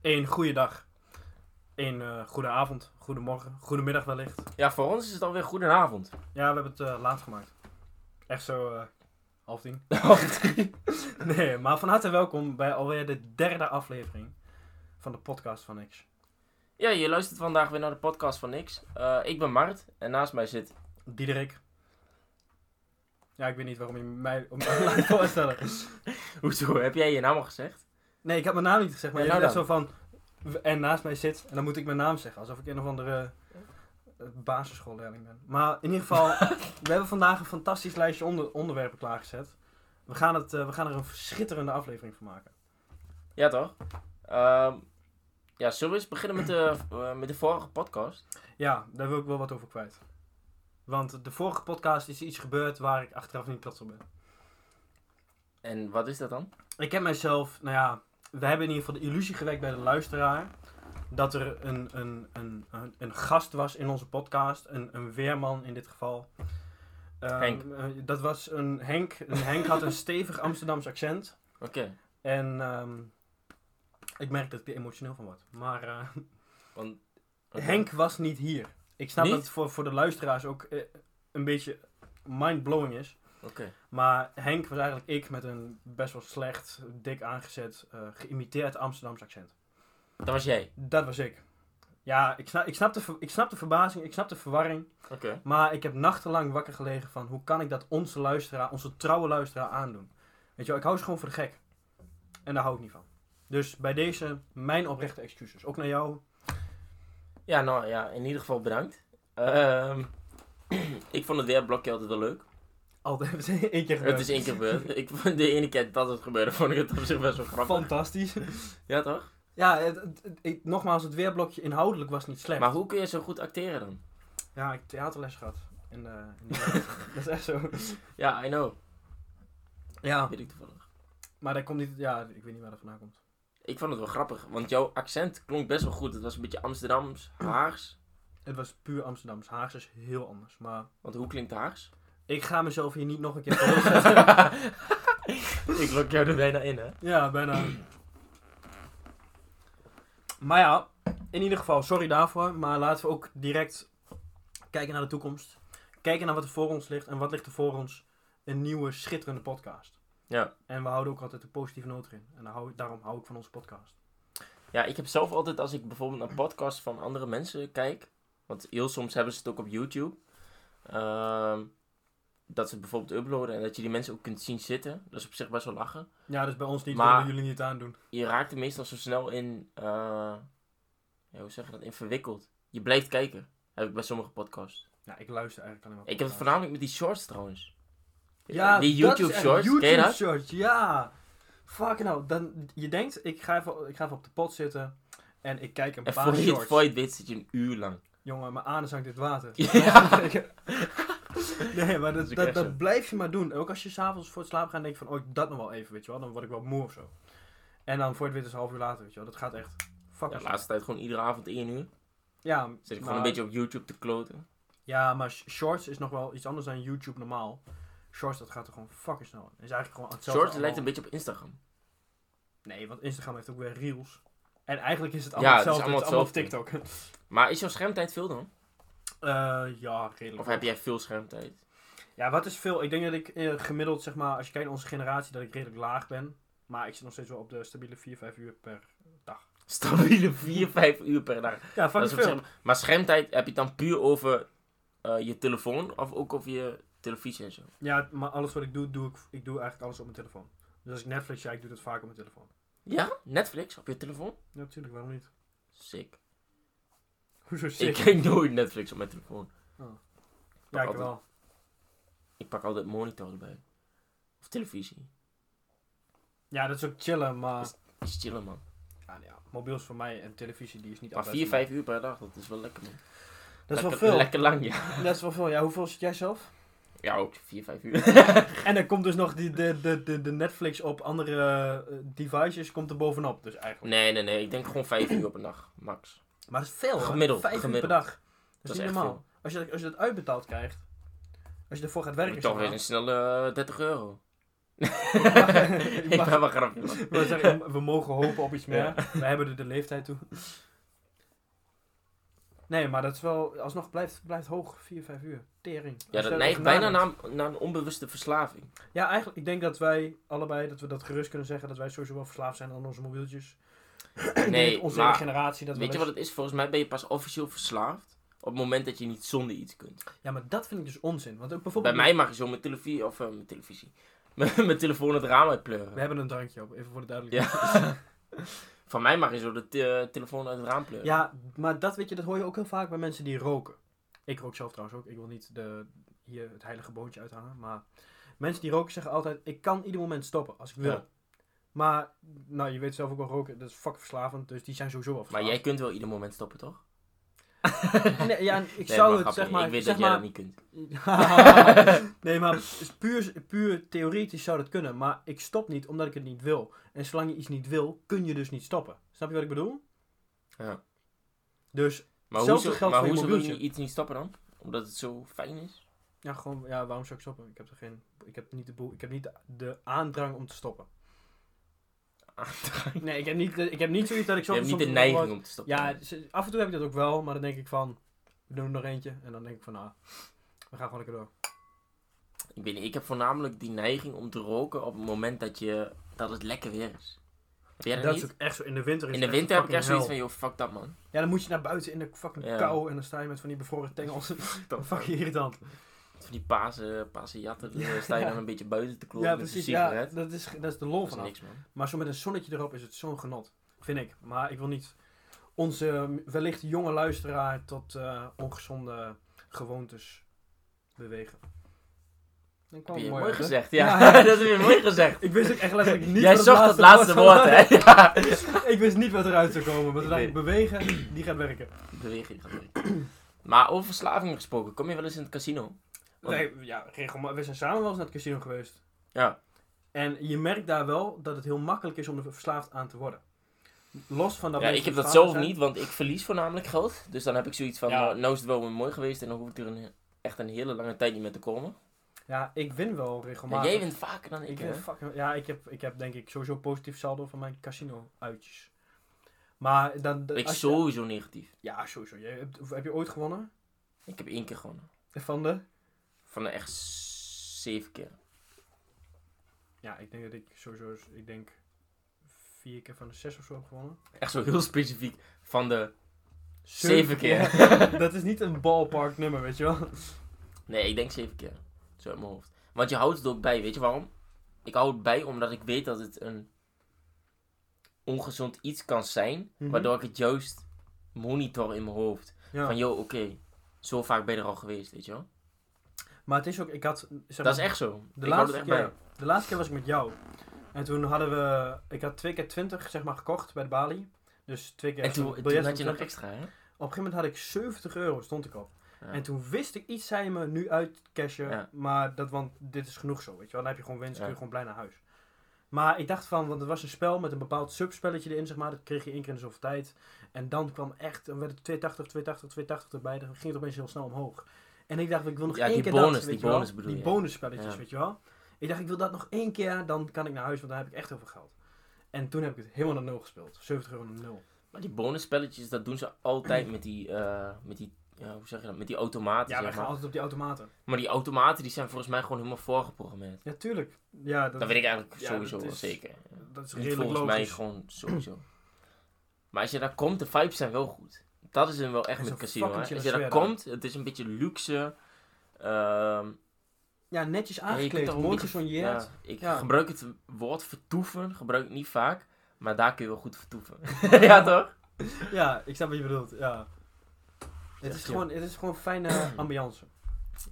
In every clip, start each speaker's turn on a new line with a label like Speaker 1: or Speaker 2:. Speaker 1: Eén goede dag. Eén eh goede avond. Goedemorgen. Goedemiddag wellicht.
Speaker 2: Ja, voor ons is het alweer goedenavond.
Speaker 1: Ja, we hebben het eh, laat gemaakt. Echt zo eh, half tien. Nee, maar van harte welkom bij alweer de derde aflevering van de podcast van X.
Speaker 2: ja, je luistert vandaag weer naar de podcast van Niks. Eh, ik ben Mart en naast mij zit...
Speaker 1: Diederik. Ja, ik weet niet waarom je mij om laat voorstellen.
Speaker 2: Hoezo, heb jij je naam al gezegd?
Speaker 1: Nee, ik heb mijn naam niet gezegd, maar
Speaker 2: Ja,
Speaker 1: je
Speaker 2: nou
Speaker 1: zegt zo van... w- En naast mij zit, en dan moet ik mijn naam zeggen. Alsof ik een of andere eh, basisschoolleerling ben. Maar in ieder geval, we hebben vandaag een fantastisch lijstje onder, onderwerpen klaargezet. We gaan, het, eh, we gaan er een schitterende aflevering van maken.
Speaker 2: Ja, toch? Ehm, ja, zullen we eens beginnen met de, eh, met de vorige podcast?
Speaker 1: Ja, daar wil ik wel wat over kwijt. Want de vorige podcast is iets gebeurd waar ik achteraf niet trots op ben.
Speaker 2: En wat is dat dan?
Speaker 1: Ik heb mijzelf, nou ja, we hebben in ieder geval de illusie gewekt bij de luisteraar. Dat er een, een, een, een, een gast was in onze podcast, een, een weerman in dit geval. Ehm,
Speaker 2: Henk.
Speaker 1: eh, dat was een Henk. En Henk had een stevig Amsterdams accent.
Speaker 2: Oké.
Speaker 1: En ehm, ik merk dat ik er emotioneel van word. Maar eh,
Speaker 2: Want,
Speaker 1: Henk was niet hier. Ik snap
Speaker 2: Niet?
Speaker 1: dat het voor, voor de luisteraars ook eh, een beetje mind-blowing is.
Speaker 2: Oké.
Speaker 1: Maar Henk was eigenlijk ik met een best wel slecht, dik aangezet, eh, geïmiteerd Amsterdams accent.
Speaker 2: Dat was jij.
Speaker 1: Dat was ik. Ja, ik snap, ik, snap de, ver- ik snap de verbazing, ik snap de verwarring.
Speaker 2: Oké.
Speaker 1: Maar ik heb nachtenlang wakker gelegen van hoe kan ik dat onze luisteraar, onze trouwe luisteraar aandoen. Weet je wel, ik hou ze gewoon voor de gek. En daar hou ik niet van. Dus bij deze, mijn oprechte excuses. Ook naar jou.
Speaker 2: Ja, nou ja, in ieder geval bedankt. Ehm, ik vond het weerblokje altijd wel leuk.
Speaker 1: Altijd één keer gebeurd.
Speaker 2: Het is één keer gebeurd. Ik vond de ene keer dat het gebeurde, vond ik het op zich best wel grappig.
Speaker 1: Fantastisch.
Speaker 2: Ja, toch?
Speaker 1: Ja, het, het- het- ik- nogmaals, het weerblokje inhoudelijk was niet slecht.
Speaker 2: Maar hoe kun je zo goed acteren dan?
Speaker 1: Ja, ik heb theaterles gehad. In de, in de- dat is echt zo.
Speaker 2: Ja, I know.
Speaker 1: Ja.
Speaker 2: Weet ik toevallig.
Speaker 1: Maar dat komt niet, ja, ik weet niet waar dat vandaan komt.
Speaker 2: Ik vond het wel grappig, want jouw accent klonk best wel goed. Het was een beetje Amsterdams, Haags.
Speaker 1: Het was puur Amsterdams. Haags is heel anders. Maar
Speaker 2: Want hoe klinkt Haags?
Speaker 1: ik ga mezelf hier niet nog een keer voor zetten.
Speaker 2: ik lok jou er bijna in, hè?
Speaker 1: Ja, bijna. Maar ja, in ieder geval, sorry daarvoor. Maar laten we ook direct kijken naar de toekomst. Kijken naar wat er voor ons ligt. En wat ligt er voor ons? Een nieuwe, schitterende podcast.
Speaker 2: Ja.
Speaker 1: En we houden ook altijd de positieve noot erin. En daar hou, daarom hou ik van onze podcast.
Speaker 2: Ja, ik heb zelf altijd, als ik bijvoorbeeld naar podcasts van andere mensen kijk... Want heel soms hebben ze het ook op YouTube. ehm, dat ze het bijvoorbeeld uploaden en dat je die mensen ook kunt zien zitten. Dat is op zich best wel lachen.
Speaker 1: Ja, dus bij ons niet.
Speaker 2: Maar-
Speaker 1: Maar... jullie niet aandoen.
Speaker 2: je raakt er meestal zo snel in, eh, ja, hoe zeg je dat, in verwikkeld. Je blijft kijken, heb ik bij sommige podcasts.
Speaker 1: Ja, Nou, ik luister eigenlijk alleen maar
Speaker 2: Ik heb
Speaker 1: podcasts.
Speaker 2: het voornamelijk met die shorts trouwens.
Speaker 1: Ja,
Speaker 2: die
Speaker 1: dat is
Speaker 2: YouTube
Speaker 1: echt
Speaker 2: shorts, ken je
Speaker 1: YouTube
Speaker 2: dat?
Speaker 1: shorts, ja. Fuck nou, dan, je denkt, ik ga, even, ik ga even op de pot zitten en ik kijk een
Speaker 2: En
Speaker 1: paar
Speaker 2: voor je, het-
Speaker 1: shorts.
Speaker 2: voor je het weet zit je een uur lang.
Speaker 1: Jongen, mijn anus hangt in het water.
Speaker 2: Ja.
Speaker 1: nee, maar
Speaker 2: Dat
Speaker 1: dat,
Speaker 2: is ook
Speaker 1: dat,
Speaker 2: echt zo.
Speaker 1: dat blijf je maar doen. Ook als je s'avonds voor het slapen gaat denk je van, oh, dat nog wel even, weet je wel. Dan word ik wel moe of zo. En dan voor je het weet is het een half uur later, weet je wel. Dat gaat echt fuck
Speaker 2: Ja,
Speaker 1: ja,
Speaker 2: de laatste tijd gewoon iedere avond één uur.
Speaker 1: ja,
Speaker 2: Zit ik
Speaker 1: maar-
Speaker 2: gewoon een beetje op YouTube te kloten.
Speaker 1: Ja, maar sh- shorts is nog wel iets anders dan YouTube normaal. Shorts, dat gaat er gewoon fucking snel in. Is eigenlijk gewoon hetzelfde
Speaker 2: Shorts lijkt
Speaker 1: allemaal.
Speaker 2: een beetje op Instagram.
Speaker 1: Nee, want Instagram heeft ook weer reels. En eigenlijk is het
Speaker 2: Ja,
Speaker 1: allemaal
Speaker 2: het is
Speaker 1: hetzelfde. Het is allemaal
Speaker 2: allemaal
Speaker 1: op TikTok.
Speaker 2: Maar is jouw schermtijd veel dan?
Speaker 1: Eh, ja, redelijk.
Speaker 2: Of heb jij veel schermtijd?
Speaker 1: Ja, wat is veel? Ik denk dat ik eh, gemiddeld, zeg maar, als je kijkt naar onze generatie, dat ik redelijk laag ben. Maar ik zit nog steeds wel op de stabiele 4, 5 uur per...
Speaker 2: Stabiele 4, 5 uur per dag.
Speaker 1: Ja,
Speaker 2: Dat
Speaker 1: fucking
Speaker 2: is
Speaker 1: veel.
Speaker 2: op zich- maar schermtijd heb je het dan puur over eh, je telefoon of ook over je televisie en zo?
Speaker 1: Ja, maar alles wat ik doe, doe ik, ik doe eigenlijk alles op mijn telefoon. Dus als ik Netflix kijk, doe ik dat vaak op mijn telefoon.
Speaker 2: Ja, Netflix op je telefoon?
Speaker 1: Ja, natuurlijk, waarom niet?
Speaker 2: Sick.
Speaker 1: Hoezo
Speaker 2: Ik
Speaker 1: sick?
Speaker 2: kijk nooit Netflix op mijn telefoon.
Speaker 1: Ja, ik
Speaker 2: altijd-
Speaker 1: wel.
Speaker 2: Ik pak altijd monitor erbij. Of televisie.
Speaker 1: Ja, dat is ook chillen, maar...
Speaker 2: Dat is chillen, man.
Speaker 1: Ja, nou ja, mobiels voor mij en televisie, die is niet
Speaker 2: Maar
Speaker 1: altijd-
Speaker 2: 4, 5 uur per dag, dat is wel lekker, man.
Speaker 1: Dat is wel
Speaker 2: Lekker-
Speaker 1: veel.
Speaker 2: Lekker lang, ja.
Speaker 1: Dat is wel veel. Ja, hoeveel zit jij zelf?
Speaker 2: Ja, ook 4, 5 uur.
Speaker 1: En dan komt dus nog die, de, de, de, de Netflix op andere eh, devices komt er bovenop. Dus eigenlijk.
Speaker 2: nee, nee, nee. Ik denk gewoon 5 uur op een dag, max.
Speaker 1: Maar dat is veel. hè?
Speaker 2: Gemiddeld,
Speaker 1: Vijf uur
Speaker 2: gemiddeld.
Speaker 1: per dag. Dat is
Speaker 2: Dat is
Speaker 1: niet
Speaker 2: echt
Speaker 1: normaal.
Speaker 2: veel.
Speaker 1: Als je, dat- als je dat uitbetaald krijgt. Als je ervoor gaat
Speaker 2: Dan
Speaker 1: werken.
Speaker 2: moet je toch
Speaker 1: zeg
Speaker 2: weer
Speaker 1: maar.
Speaker 2: een snelle eh, 30 euro. ik ben wel grappig.
Speaker 1: Ik wou zeggen, we mogen hopen op iets meer.
Speaker 2: Ja.
Speaker 1: We hebben er de leeftijd toe. Nee, maar dat is wel... Alsnog blijft, blijft hoog. 4, 5 uur. Tering. Als
Speaker 2: Ja,
Speaker 1: je
Speaker 2: dat
Speaker 1: erover
Speaker 2: neigt bijna
Speaker 1: nadenkt.
Speaker 2: naar, naar een onbewuste verslaving.
Speaker 1: Ja, eigenlijk. Ik denk dat wij allebei, dat we dat gerust kunnen zeggen, dat wij sowieso wel verslaafd zijn aan onze mobieltjes. Ik denk
Speaker 2: Nee,
Speaker 1: onze
Speaker 2: maar
Speaker 1: generatie dat
Speaker 2: weet je
Speaker 1: wel
Speaker 2: wat
Speaker 1: eens-
Speaker 2: het is? Volgens mij ben je pas officieel verslaafd op het moment dat je niet zonder iets kunt.
Speaker 1: Ja, maar dat vind ik dus onzin. Want ook
Speaker 2: Bij
Speaker 1: bijvoorbeeld...
Speaker 2: mij mag je zo mijn televisie, of eh, mijn televisie, mijn mijn telefoon het raam uitpleuren.
Speaker 1: We hebben een drankje op, even voor de duidelijkheid.
Speaker 2: Ja. Van mij mag je zo de te- telefoon uit het raam pleuren.
Speaker 1: Ja, maar dat weet je, dat hoor je ook heel vaak bij mensen die roken. Ik rook zelf trouwens ook. Ik wil niet de, hier het heilige boontje uithangen. Maar mensen die roken zeggen altijd, ik kan ieder moment stoppen als ik wil.
Speaker 2: Ja.
Speaker 1: Maar, nou, je weet zelf ook wel, roken, dat is fucking verslavend. Dus die zijn sowieso al
Speaker 2: Maar
Speaker 1: verslaafd.
Speaker 2: jij kunt wel ieder moment stoppen, toch?
Speaker 1: Nee, ja, ik
Speaker 2: Nee,
Speaker 1: zou
Speaker 2: maar
Speaker 1: het,
Speaker 2: grapje,
Speaker 1: zeg maar...
Speaker 2: Ik weet
Speaker 1: zeg
Speaker 2: dat jij
Speaker 1: maar,
Speaker 2: dat niet kunt.
Speaker 1: nee, maar s- puur, puur theoretisch zou dat kunnen. Maar ik stop niet omdat ik het niet wil. En zolang je iets niet wil, kun je dus niet stoppen. Snap je wat ik bedoel?
Speaker 2: Ja.
Speaker 1: Dus,
Speaker 2: Maar
Speaker 1: Hetzelfde
Speaker 2: hoezo,
Speaker 1: geldt
Speaker 2: maar
Speaker 1: voor je
Speaker 2: hoezo wil je
Speaker 1: mobieltje.
Speaker 2: iets niet stoppen dan? Omdat het zo fijn is?
Speaker 1: ja, gewoon, ja, waarom zou ik stoppen? Ik heb er geen... Ik heb niet de, boel, ik heb niet de, de aandrang om te stoppen. Nee, ik heb niet, ik heb niet zoiets dat ik
Speaker 2: Je
Speaker 1: zo...
Speaker 2: hebt niet de
Speaker 1: soms-
Speaker 2: neiging om te stoppen.
Speaker 1: Ja, ze- af en toe heb ik dat ook wel. Maar dan denk ik van, we doen er nog eentje. En dan denk ik van, nou, we gaan gewoon lekker door.
Speaker 2: Ik weet niet, ik heb voornamelijk die neiging om te roken op het moment dat, je, dat het lekker weer is. Heb jij dat,
Speaker 1: Dat
Speaker 2: niet?
Speaker 1: is ook echt zo, in de winter is
Speaker 2: In de
Speaker 1: het
Speaker 2: winter heb ik
Speaker 1: fucking
Speaker 2: echt zoiets
Speaker 1: hel.
Speaker 2: van, joh, fuck dat man.
Speaker 1: Ja, dan moet je naar buiten in de fucking
Speaker 2: Ja.
Speaker 1: kou en dan sta je met van die bevroren tengels.
Speaker 2: Dat
Speaker 1: fucking irritant.
Speaker 2: Van die paase, paase jatten, dan sta je
Speaker 1: Ja.
Speaker 2: dan een beetje buiten te kloppen
Speaker 1: Ja,
Speaker 2: met een
Speaker 1: precies. Ja,
Speaker 2: sigaret.
Speaker 1: dat, is, dat is de lol
Speaker 2: dat is
Speaker 1: van
Speaker 2: niks man.
Speaker 1: Maar zo met een zonnetje erop is het zo'n genot. Vind ik. Maar ik wil niet onze eh, wellicht jonge luisteraar tot eh, ongezonde gewoontes bewegen. Ik
Speaker 2: Heb
Speaker 1: kwam
Speaker 2: je
Speaker 1: mooi
Speaker 2: mooi,
Speaker 1: uit, hè?
Speaker 2: gezegd, ja.
Speaker 1: Ja.
Speaker 2: dat is weer mooi gezegd.
Speaker 1: Ik wist ook echt letterlijk niet
Speaker 2: Jij
Speaker 1: wat
Speaker 2: zocht het laatste woord,
Speaker 1: was.
Speaker 2: hè? Ja.
Speaker 1: ik wist niet wat eruit zou komen. Maar toen dacht ik,
Speaker 2: Ik
Speaker 1: bewegen, die gaat werken.
Speaker 2: Beweging gaat weer. Maar over verslaving gesproken, kom je wel eens in het casino? Want-
Speaker 1: Nee, ja, regelmatig. We zijn samen wel eens naar het casino geweest.
Speaker 2: Ja.
Speaker 1: En je merkt daar wel dat het heel makkelijk is om er verslaafd aan te worden. Los van dat
Speaker 2: ja,
Speaker 1: mensen
Speaker 2: ik heb dat
Speaker 1: verslaafd
Speaker 2: zelf
Speaker 1: zijn.
Speaker 2: niet, want ik verlies voornamelijk geld. Dus dan heb ik zoiets van,
Speaker 1: Ja.
Speaker 2: nou, nou is het wel weer mooi geweest en dan hoef ik er een, echt een hele lange tijd niet meer te komen.
Speaker 1: Ja, ik win wel
Speaker 2: Maar
Speaker 1: regelmatig.
Speaker 2: jij wint vaker dan ik,
Speaker 1: ik
Speaker 2: hè?
Speaker 1: win fucking, Ja, ik heb, ik heb denk ik sowieso positief saldo van mijn casino uitjes. Maar dan... dan-
Speaker 2: Ik
Speaker 1: als je-
Speaker 2: sowieso negatief.
Speaker 1: ja, sowieso. Jij hebt, heb je ooit gewonnen?
Speaker 2: Ik heb één keer gewonnen.
Speaker 1: Van de?
Speaker 2: Van de echt s- zeven keer.
Speaker 1: Ja, ik denk dat ik sowieso... Ik denk vier keer van de zes of zo heb gewonnen.
Speaker 2: Echt zo heel specifiek van de...
Speaker 1: Zeven
Speaker 2: Zeven keer.
Speaker 1: dat is niet een ballpark nummer, weet je wel.
Speaker 2: Nee, ik denk zeven keer. Zo uit mijn hoofd. Want je houdt het ook bij, weet je waarom? Ik hou het bij omdat ik weet dat het een ongezond iets kan zijn,
Speaker 1: Mhm.
Speaker 2: waardoor ik het juist monitor in mijn hoofd.
Speaker 1: Ja.
Speaker 2: Van, joh, oké, zo vaak ben je er al geweest, weet je wel?
Speaker 1: Maar het is ook... Ik had... Zeg maar,
Speaker 2: Dat is echt zo.
Speaker 1: De
Speaker 2: ik hou het
Speaker 1: laatste,
Speaker 2: echt
Speaker 1: keer,
Speaker 2: bij.
Speaker 1: de laatste keer was ik met jou. En toen hadden we... Ik had twee keer 20 zeg maar, gekocht bij de balie. Dus twee keer...
Speaker 2: en toen,
Speaker 1: biljet
Speaker 2: toen
Speaker 1: van
Speaker 2: had je nog
Speaker 1: 20.
Speaker 2: extra, hè?
Speaker 1: Op een gegeven moment had ik 70 euro, stond ik op.
Speaker 2: Ja.
Speaker 1: En toen wist ik iets, zei me, nu uitcashen.
Speaker 2: Ja.
Speaker 1: Maar dat, want dit is genoeg zo, weet je wel. Dan heb je gewoon winst,
Speaker 2: Ja.
Speaker 1: kun je gewoon blij naar huis. Maar ik dacht van, want het was een spel met een bepaald subspelletje erin, zeg maar. Dat kreeg je één keer in de zoveel tijd. En dan kwam echt, dan werd het 280, 280, 280 erbij. Dan ging het opeens heel snel omhoog. En ik dacht, ik wil nog
Speaker 2: Ja,
Speaker 1: één
Speaker 2: die
Speaker 1: keer
Speaker 2: bonus,
Speaker 1: dat,
Speaker 2: die
Speaker 1: weet je wel.
Speaker 2: bonus bedoel
Speaker 1: Die
Speaker 2: je.
Speaker 1: bonusspelletjes,
Speaker 2: Ja.
Speaker 1: weet je wel. Ik dacht, ik wil dat nog één keer, dan kan ik naar huis, want dan heb ik echt heel veel geld. En toen heb ik het helemaal naar nul gespeeld. 70 euro naar nul.
Speaker 2: Maar die bonusspelletjes, dat doen ze altijd met die, eh, met die ja, hoe zeg je dat, met die automaten,
Speaker 1: Mhm. Ja, wij
Speaker 2: zeg
Speaker 1: gaan
Speaker 2: maar.
Speaker 1: altijd op die automaten.
Speaker 2: Maar die automaten, die zijn volgens mij gewoon helemaal voorgeprogrammeerd.
Speaker 1: Ja, tuurlijk. Ja, dat,
Speaker 2: Dat weet ik eigenlijk
Speaker 1: Ja,
Speaker 2: sowieso
Speaker 1: dat
Speaker 2: wel
Speaker 1: is-
Speaker 2: zeker.
Speaker 1: dat is
Speaker 2: Dus
Speaker 1: redelijk
Speaker 2: volgens
Speaker 1: logisch.
Speaker 2: mij gewoon sowieso. Maar als je daar komt, de vibes zijn wel goed. Dat is hem wel echt
Speaker 1: Het is
Speaker 2: met
Speaker 1: een
Speaker 2: casino.
Speaker 1: fucking
Speaker 2: hè. Als je
Speaker 1: chille
Speaker 2: daar
Speaker 1: sfeer daar.
Speaker 2: komt, het is een beetje luxe. Ehm
Speaker 1: Ja, netjes
Speaker 2: je kunt
Speaker 1: aangekleed,
Speaker 2: toch een
Speaker 1: mooi
Speaker 2: beetje-
Speaker 1: gesonjeerd.
Speaker 2: ja, ik
Speaker 1: Ja.
Speaker 2: gebruik het woord vertoeven, gebruik het niet vaak. Maar daar kun je wel goed vertoeven. ja, toch?
Speaker 1: Ja. ik snap wat je bedoelt, ja. Het is,
Speaker 2: Ja.
Speaker 1: gewoon, het is gewoon fijne ambiance.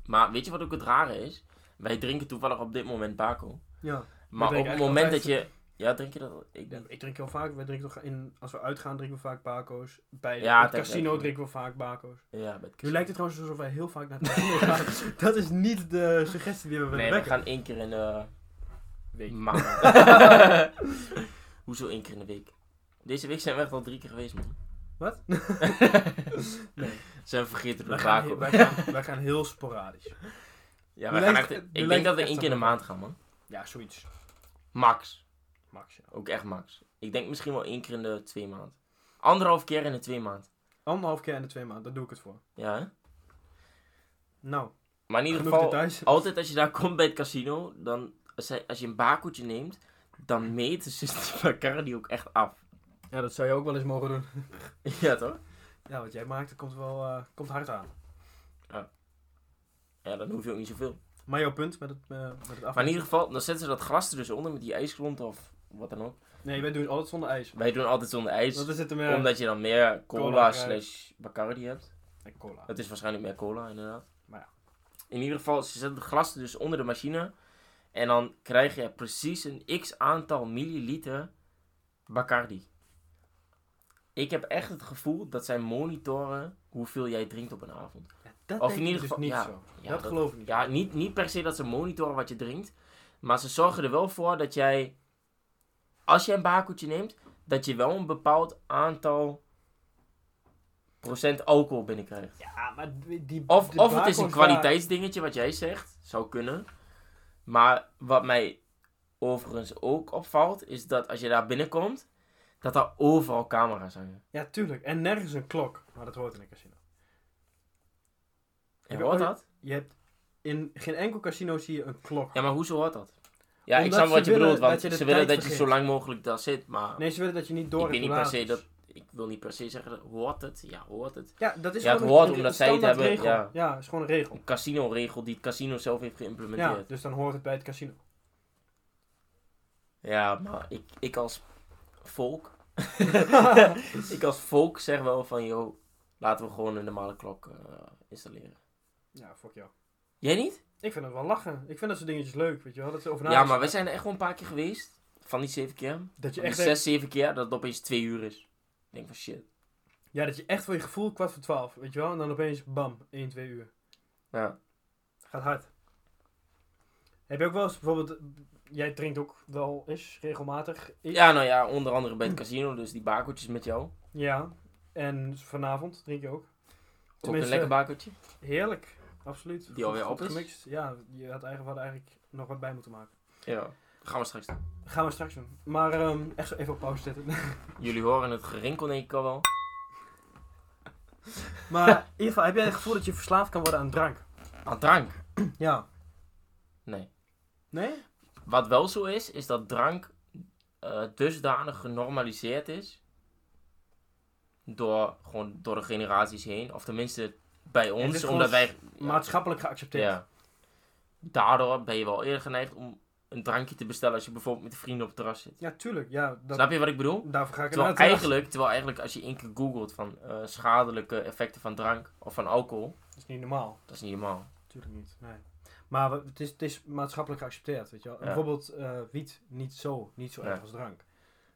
Speaker 2: Maar weet je wat ook het rare is? Wij drinken toevallig op dit moment Baco.
Speaker 1: Ja. drink ik
Speaker 2: Maar op het
Speaker 1: eigenlijk
Speaker 2: moment dat
Speaker 1: altijd.
Speaker 2: je... Ja, drink je dat? al? Ik
Speaker 1: Ja,
Speaker 2: niet.
Speaker 1: ik drink heel vaak, wij drinken toch in, als we uitgaan drinken we vaak bako's. Bij
Speaker 2: Ja,
Speaker 1: het
Speaker 2: dat-
Speaker 1: casino
Speaker 2: dat-
Speaker 1: drinken we vaak bako's.
Speaker 2: Ja, bij het
Speaker 1: Nu
Speaker 2: casino.
Speaker 1: lijkt het trouwens alsof wij heel vaak naar het casino gaan. Dat is niet de suggestie die we willen
Speaker 2: Nee, we
Speaker 1: wekken.
Speaker 2: gaan één keer in de
Speaker 1: Week.
Speaker 2: maand. Hoezo één keer in de week? Deze week zijn we echt al drie keer geweest, man.
Speaker 1: Wat? Nee.
Speaker 2: Zijn we vergeten door
Speaker 1: Wij
Speaker 2: de
Speaker 1: gaan,
Speaker 2: Baco.
Speaker 1: heel- wij, gaan, wij gaan heel sporadisch.
Speaker 2: Ja,
Speaker 1: Nu
Speaker 2: wij gaan
Speaker 1: lijkt-
Speaker 2: echt...
Speaker 1: nu
Speaker 2: Ik denk
Speaker 1: lijkt
Speaker 2: dat we
Speaker 1: het
Speaker 2: één
Speaker 1: echt
Speaker 2: keer in de
Speaker 1: op-
Speaker 2: maand gaan, man.
Speaker 1: Ja, zoiets.
Speaker 2: Max.
Speaker 1: Max, ja.
Speaker 2: Ook echt max. Ik denk misschien wel één keer in de twee maanden. Anderhalf keer in de twee maanden.
Speaker 1: Anderhalf keer in de twee maanden, daar doe ik het voor.
Speaker 2: Ja, hè?
Speaker 1: Nou,
Speaker 2: Maar in ieder
Speaker 1: genoeg
Speaker 2: geval,
Speaker 1: details.
Speaker 2: altijd als je daar komt bij het casino, dan, als, hij- als je een bakoetje neemt, dan meten ze die Bacardi ook echt af.
Speaker 1: Ja, dat zou je ook wel eens mogen doen.
Speaker 2: Ja, toch?
Speaker 1: Ja, wat jij maakt, dat komt wel eh, komt hard aan.
Speaker 2: Ja, dan hoef je ook niet zoveel.
Speaker 1: Maar jouw punt met het, eh, met het af.
Speaker 2: Maar in ieder geval, dan zetten ze dat gras er dus onder met die ijsgrond of wat dan ook.
Speaker 1: Nee, wij doen het altijd zonder ijs.
Speaker 2: Wij doen altijd zonder ijs,
Speaker 1: Dat is het meer.
Speaker 2: omdat je dan meer
Speaker 1: Cola
Speaker 2: cola
Speaker 1: krijgt.
Speaker 2: slash Bacardi hebt.
Speaker 1: Nee, cola.
Speaker 2: Het is waarschijnlijk meer cola, inderdaad.
Speaker 1: Maar ja.
Speaker 2: In ieder geval, ze zetten het glas er dus onder de machine. En dan krijg je precies een x aantal milliliter Bacardi. Ik heb echt het gevoel dat zij monitoren hoeveel jij drinkt op een avond.
Speaker 1: Dat
Speaker 2: Of
Speaker 1: denk
Speaker 2: in
Speaker 1: ik dus
Speaker 2: ieder geval-
Speaker 1: niet
Speaker 2: ja.
Speaker 1: zo.
Speaker 2: Ja,
Speaker 1: dat,
Speaker 2: dat-
Speaker 1: geloof ik niet.
Speaker 2: Ja, niet, niet per se dat ze monitoren wat je drinkt. Maar ze zorgen er wel voor dat jij, als je een bakeltje neemt, dat je wel een bepaald aantal procent alcohol binnenkrijgt.
Speaker 1: Ja, maar die... die-
Speaker 2: Of,
Speaker 1: de
Speaker 2: of het is een
Speaker 1: bakels
Speaker 2: kwaliteitsdingetje wat jij zegt, zou kunnen. Maar wat mij overigens ook opvalt, is dat als je daar binnenkomt, dat daar overal camera's hangen.
Speaker 1: daar- Ja, tuurlijk. En nergens een klok. Maar dat hoort in een casino.
Speaker 2: En
Speaker 1: Ja,
Speaker 2: hoort
Speaker 1: maar-
Speaker 2: dat?
Speaker 1: Je hebt... In geen enkel casino zie je een klok.
Speaker 2: Ja, maar hoezo hoort dat? Ja, ik
Speaker 1: Omdat
Speaker 2: snap
Speaker 1: ze
Speaker 2: wat je
Speaker 1: willen
Speaker 2: bedoelt, want
Speaker 1: dat je de
Speaker 2: ze willen
Speaker 1: tijd
Speaker 2: dat je
Speaker 1: vergeet.
Speaker 2: zo lang mogelijk daar zit. Maar
Speaker 1: Nee, ze willen dat je niet door
Speaker 2: ik, weet niet per se
Speaker 1: regulaties-
Speaker 2: dat, ik wil niet per se zeggen, dat- hoort het? Ja, hoort het.
Speaker 1: Ja, dat is
Speaker 2: Ja, het
Speaker 1: gewoon
Speaker 2: hoort
Speaker 1: een, een
Speaker 2: omdat zij het
Speaker 1: standaard
Speaker 2: hebben,
Speaker 1: regel. Ja. is gewoon een regel.
Speaker 2: Een casino-regel die het casino zelf heeft
Speaker 1: Ja,
Speaker 2: geïmplementeerd.
Speaker 1: dus dan hoort het bij het casino.
Speaker 2: Ja, maar ik, ik als volk... ik als volk zeg wel van, joh, laten we gewoon een normale klok eh, installeren.
Speaker 1: Ja, fuck jou.
Speaker 2: Jij niet?
Speaker 1: Ik vind het wel lachen. Ik vind dat soort dingetjes leuk, weet je wel. Dat ze over na-
Speaker 2: ja, maar we zijn er echt wel een paar keer geweest. Van die zeven keer.
Speaker 1: dat je
Speaker 2: Van die
Speaker 1: echt
Speaker 2: zes, zeven keer, dat het opeens twee uur is. Ik denk van, shit.
Speaker 1: Ja, dat je echt voor je gevoel kwart voor twaalf, weet je wel? En dan opeens, bam, 1, 2 uur.
Speaker 2: Ja.
Speaker 1: Gaat hard. Heb je ook wel eens bijvoorbeeld, jij drinkt ook wel eens regelmatig. Ik-
Speaker 2: ja, nou ja, onder andere bij het casino, dus die bakeltjes met jou.
Speaker 1: Ja. En vanavond drink je ook.
Speaker 2: Ook
Speaker 1: Tenminste,
Speaker 2: een lekker bakeltje.
Speaker 1: Heerlijk, absoluut.
Speaker 2: Die alweer op is.
Speaker 1: gemixt. Ja, je had eigenlijk, we hadden eigenlijk nog wat bij moeten maken.
Speaker 2: Ja. Dat gaan we straks doen.
Speaker 1: Gaan we straks doen. Maar ehm, echt zo even op pauze zetten.
Speaker 2: Jullie horen het gerinkel denk ik al wel.
Speaker 1: maar in ieder geval, heb jij het gevoel dat je verslaafd kan worden aan drank?
Speaker 2: Aan drank?
Speaker 1: Ja.
Speaker 2: Nee.
Speaker 1: Nee?
Speaker 2: Wat wel zo is, is dat drank eh, dusdanig genormaliseerd is. Door, gewoon door de generaties heen. Of tenminste bij
Speaker 1: het
Speaker 2: ons,
Speaker 1: is
Speaker 2: omdat
Speaker 1: gewoon
Speaker 2: wij...
Speaker 1: Maatschappelijk geaccepteerd.
Speaker 2: Ja. Daardoor ben je wel eerder geneigd om een drankje te bestellen als je bijvoorbeeld met vrienden op het terras zit.
Speaker 1: Ja, tuurlijk. Ja, dat,
Speaker 2: Snap je wat ik bedoel?
Speaker 1: daarvoor ga ik
Speaker 2: Terwijl
Speaker 1: inderdaad-
Speaker 2: eigenlijk, terwijl eigenlijk als je één keer googelt van eh, schadelijke effecten van drank of van alcohol,
Speaker 1: Dat is niet normaal.
Speaker 2: dat is niet normaal.
Speaker 1: Natuurlijk niet. Nee. Maar we- het is, het is maatschappelijk geaccepteerd, weet je wel. En
Speaker 2: Ja.
Speaker 1: Bijvoorbeeld eh, wiet niet zo, niet zo erg
Speaker 2: Ja.
Speaker 1: als drank.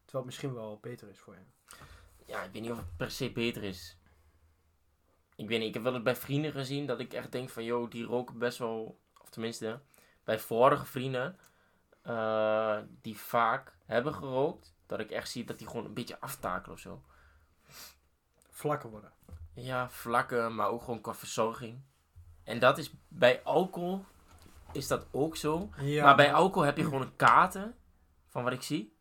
Speaker 1: Terwijl het misschien wel beter is voor je.
Speaker 2: Ja, ik weet niet of het per se beter is. Ik weet niet, ik heb wel het bij vrienden gezien dat ik echt denk van, joh, die roken best wel, of tenminste, bij vorige vrienden, eh, die vaak hebben gerookt, dat ik echt zie dat die gewoon een beetje aftakelen of zo.
Speaker 1: Vlakker worden.
Speaker 2: Ja, vlakken, maar ook gewoon qua verzorging. En dat is bij alcohol, is dat ook zo.
Speaker 1: Ja.
Speaker 2: Maar bij alcohol heb je gewoon een kaarten van wat ik zie.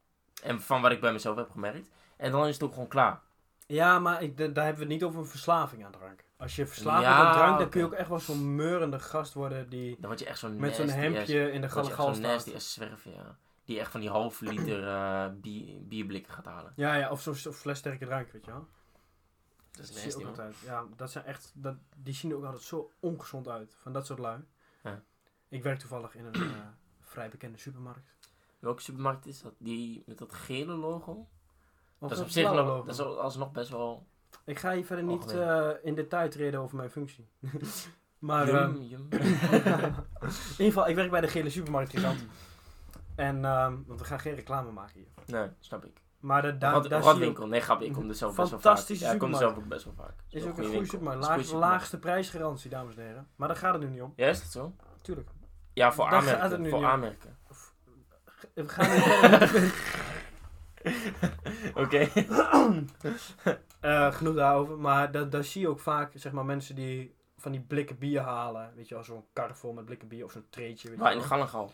Speaker 2: En van wat ik bij mezelf heb gemerkt. En dan is het ook gewoon klaar.
Speaker 1: Ja, maar ik, da- daar hebben we het niet over een verslaving aan drank. Als je verslaafd
Speaker 2: Ja,
Speaker 1: wordt aan drank, dan
Speaker 2: oké.
Speaker 1: kun je ook echt wel zo'n meurende gast worden die
Speaker 2: Dan word je echt zo'n
Speaker 1: met zo'n
Speaker 2: nasty ass-
Speaker 1: hemdje in de
Speaker 2: word je echt
Speaker 1: gallegal
Speaker 2: zo'n
Speaker 1: staat.
Speaker 2: nasty ass zwerver, ja. Die echt van die half liter eh, bier, bierblikken gaat halen.
Speaker 1: Ja, ja, of zo'n zo'n fles sterke drank, weet je wel.
Speaker 2: Dat
Speaker 1: Dat
Speaker 2: is
Speaker 1: zie je
Speaker 2: nasty,
Speaker 1: ook
Speaker 2: man.
Speaker 1: altijd. Ja, dat zijn echt, dat, die zien er ook altijd zo ongezond uit, van dat soort lui.
Speaker 2: Ja.
Speaker 1: Ik werk toevallig in een eh, vrij bekende supermarkt.
Speaker 2: Welke supermarkt is dat? Die met dat gele logo?
Speaker 1: Of
Speaker 2: dat is
Speaker 1: dat
Speaker 2: op zich
Speaker 1: blauwe
Speaker 2: nog,
Speaker 1: logo?
Speaker 2: dat is alsnog best wel...
Speaker 1: Ik ga hier verder niet
Speaker 2: Algemeen.
Speaker 1: eh, in detail treden over mijn functie. maar eh,
Speaker 2: jum, jum.
Speaker 1: in ieder geval, ik werk bij de gele supermarkt gigant. en, ehm, want we gaan geen reclame maken hier.
Speaker 2: Nee, snap ik.
Speaker 1: Maar da- da-
Speaker 2: Wat,
Speaker 1: daar
Speaker 2: wat
Speaker 1: zie je ook-
Speaker 2: winkel? Nee, grap, ik kom er zelf best wel vaak.
Speaker 1: Fantastische
Speaker 2: Ja, ik kom er zelf
Speaker 1: supermarkt.
Speaker 2: ook best wel vaak.
Speaker 1: is ook een goede
Speaker 2: winkel.
Speaker 1: supermarkt.
Speaker 2: Is een
Speaker 1: Laag,
Speaker 2: goede supermarkt.
Speaker 1: Laagste prijsgarantie, dames en heren. Maar daar gaat het nu niet om.
Speaker 2: Ja, is dat zo?
Speaker 1: Tuurlijk.
Speaker 2: Ja, voor
Speaker 1: Daar gaat het nu
Speaker 2: aanmerken. Voor
Speaker 1: niet om.
Speaker 2: aanmerken.
Speaker 1: We gaan nu verder.
Speaker 2: Oké.
Speaker 1: Eh, genoeg daarover. Maar da- daar zie je ook vaak zeg maar, mensen die van die blikken bier halen. Weet je wel, zo'n kar vol met blikken bier of zo'n treetje. Weet je
Speaker 2: Maar in
Speaker 1: wel.
Speaker 2: Gallengal.